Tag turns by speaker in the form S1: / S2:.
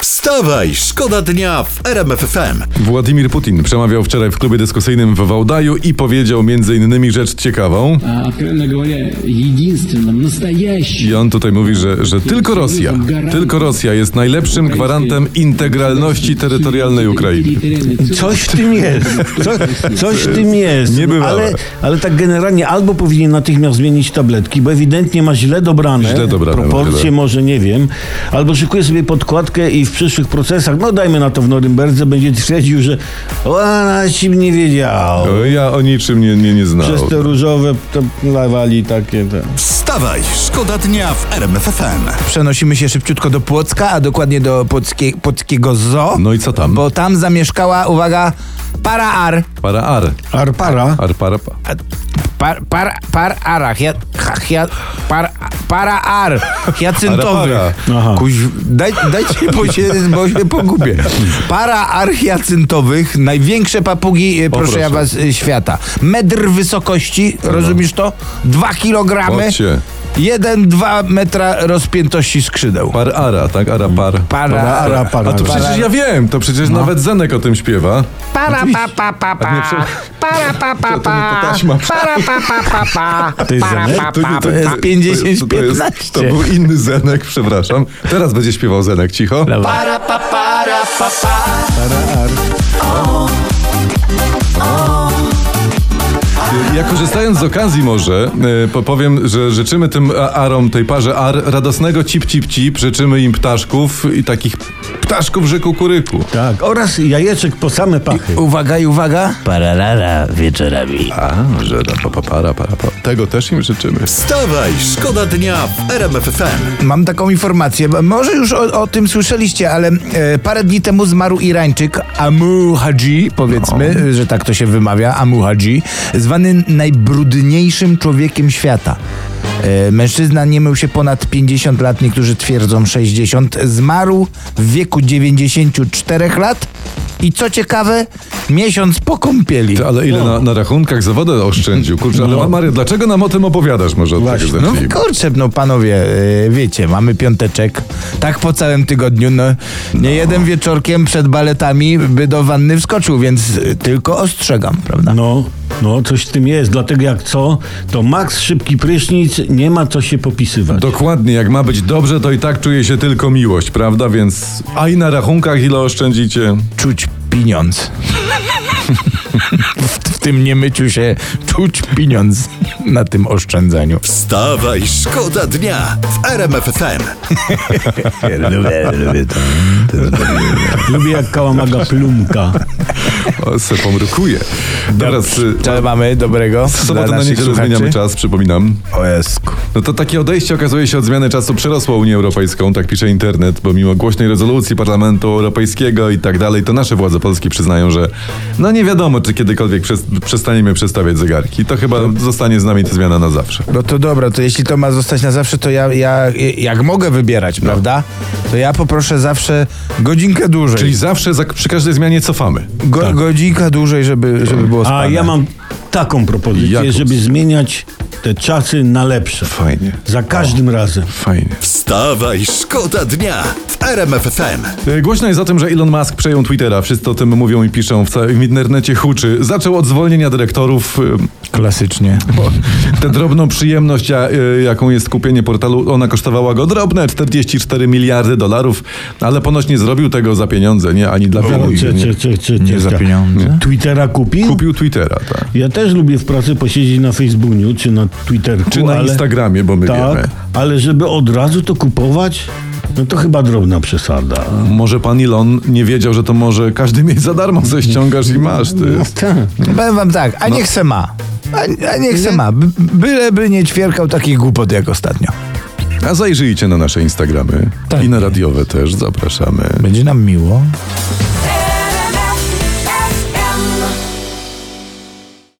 S1: Wstawaj, szkoda dnia w RMF FM.
S2: Władimir Putin przemawiał wczoraj w klubie dyskusyjnym w Wałdaju i powiedział m.in. rzecz ciekawą.
S3: А, откровенно говоря, единственным, настоящим.
S2: I on tutaj mówi, że, że tylko Rosja, tylko Rosja jest najlepszym gwarantem integralności terytorialnej Ukrainy.
S4: Coś w tym jest. Co, coś w tym jest.
S2: Niebywałe.
S4: Ale, ale tak generalnie albo powinien natychmiast zmienić tabletki, bo ewidentnie ma źle dobrane,
S2: Źle dobrane,
S4: proporcje,
S2: tyle.
S4: może nie wiem, albo szykuje sobie podkładkę i w przyszłych procesach, no dajmy na to w Norymberdze, będzie twierdził, że o, nasi nie wiedział.
S2: O, Ja o niczym nie, nie, nie znał.
S4: Przez te różowe to lawali takie. Te.
S1: Wstawaj, szkoda dnia w RMF FM.
S5: Przenosimy się szybciutko do Płocka, a dokładnie do Płockie, Płockiego Zoo.
S2: No i co tam?
S5: Bo tam zamieszkała, uwaga, para ar.
S2: Para ar.
S4: Arpara.
S2: Ar para pa.
S5: A, Par, par, par arach. Ja, ha- ja, par, para ar. Hiacyntowych.
S2: Para,
S4: Aha.
S5: Kuź, daj, dajcie, bo się, bo się pogubię. Para ar hiacyntowych, największe papugi, e, proszę, ja
S2: proszę.
S5: was, e, świata. Metr wysokości, rozumiesz to? Dwa kilogramy.
S2: No. Chodźcie.
S5: Jeden, dwa metra rozpiętości skrzydeł.
S2: Par ara, tak? Ara par.
S5: Para,
S4: Para, para.
S2: A to przecież ja wiem, to przecież nawet Zenek o tym śpiewa.
S6: Para pa pa pa pa. Para pa pa pa.
S2: taśma.
S6: Para pa pa pa pa.
S4: To jest
S6: Para
S4: Zenek?
S6: pa
S2: To nie-
S6: pa
S2: to
S6: pa.
S2: jest-
S5: jest 50,
S2: to- to jest-
S5: 15.
S2: To był inny Zenek, przepraszam. Teraz będzie śpiewał Zenek, cicho.
S5: Para, pa, para, pa, pa.
S2: Ja korzystając z okazji może e, po- powiem, że życzymy tym a- arom, tej parze ar radosnego cip cip cip, życzymy im ptaszków i takich ptaszków, że kukuryku.
S4: Tak. Oraz jajeczek po same pachy.
S5: Uwaga i uwaga.
S7: Pararara wieczorami.
S2: A, że da pa, pa, para, para, pa. Tego też im życzymy.
S1: Wstawaj, szkoda dnia w RMF FM.
S5: Mam taką informację. bo Może już o, o tym słyszeliście, ale e, parę dni temu zmarł Irańczyk Amu Hadji, powiedzmy, e, że tak to się wymawia, Amu Hadji, zwany najbrudniejszym człowiekiem świata. E, Mężczyzna nie mył się ponad 50 lat, niektórzy twierdzą 60. Zmarł w wieku 94 lat i co ciekawe, miesiąc po kąpieli.
S2: Ty, Ale ile na, na rachunkach za wodę oszczędził. Kurczę, ale no. Mary, dlaczego nam o tym opowiadasz może od
S4: Właśnie.
S2: tego zacznijmy.
S5: Kurczę, no panowie, y, wiecie, mamy piąteczek, tak po całym tygodniu, no nie jeden wieczorkiem przed baletami by do wanny wskoczył, więc y, tylko ostrzegam, prawda?
S4: No, no coś w tym jest. Dlatego jak co, to maks szybki prysznic, nie ma co się popisywać.
S2: Dokładnie, jak ma być dobrze, to i tak czuje się tylko miłość, prawda? Więc a i na rachunkach ile oszczędzicie?
S5: Czuć pieniądz. w, w tym niemyciu się czuć pieniądz na tym oszczędzaniu.
S1: Wstawaj, szkoda dnia w RMF FM.
S7: Lubię, lubię to.
S4: Lubię jak kałamaga plumka.
S2: O, se pomrukuje. Teraz y,
S5: Co mamy dobrego
S2: w
S5: dla
S2: sobotę na
S5: naszych
S2: niedzielę zmieniamy
S5: słuchaczy?
S2: czas, przypominam.
S5: O Jesku.
S2: No to takie odejście okazuje się od zmiany czasu przerosło Unię Europejską, tak pisze internet, bo mimo głośnej rezolucji Parlamentu Europejskiego i tak dalej, to nasze władze Polski przyznają, że no nie wiadomo, czy kiedykolwiek przez, przestaniemy przestawiać zegarki. To chyba zostanie z nami ta zmiana na zawsze.
S5: No to dobra, to jeśli to ma zostać na zawsze, to ja, ja jak mogę wybierać,
S4: No.
S5: prawda? To ja poproszę zawsze godzinkę dłużej.
S2: Czyli zawsze za, przy każdej zmianie cofamy.
S5: Go, Godzinka dłużej, żeby, żeby było spane.
S4: tak. A ja mam taką propozycję,
S2: Jaką?
S4: żeby zmieniać te czasy na lepsze.
S2: Fajnie.
S4: Za każdym razem.
S2: Fajnie.
S1: Wstawaj, szkoda dnia w RMF FM.
S2: E, Głośno jest o tym, że Elon Musk przejął Twittera. Wszyscy o tym mówią i piszą w całym internecie huczy. Zaczął od zwolnienia dyrektorów. ym,
S5: Klasycznie.
S2: Bo tę drobną przyjemność, ja- y, jaką jest kupienie portalu, ona kosztowała go drobne 44 miliardy dolarów, ale ponoć nie zrobił tego za pieniądze, nie? Ani dla
S4: Cze-
S2: wielu.
S4: cze-
S2: Nie.
S4: cze- cze- cze-
S5: nie za
S4: cze-
S5: pieniądze.
S4: Twittera kupił?
S2: Kupił Twittera, tak.
S4: Ja też lubię w pracy posiedzieć na Facebooku czy na Twitterku.
S2: Czy na
S4: ale,
S2: Instagramie, bo my wiemy.
S4: Tak, ale żeby od razu to kupować, no to chyba drobna przesada.
S2: Może pan Elon nie wiedział, że to może każdy mieć za darmo ze ściągasz i masz, ty.
S4: tak.
S5: Powiem wam tak,
S4: No.
S5: a niech se ma. A, a niech se ma. B- Byleby nie ćwierkał takich głupot jak ostatnio.
S4: tak.
S2: A zajrzyjcie na nasze Instagramy
S5: Tak.
S2: i na radiowe też, zapraszamy.
S5: Będzie nam miło.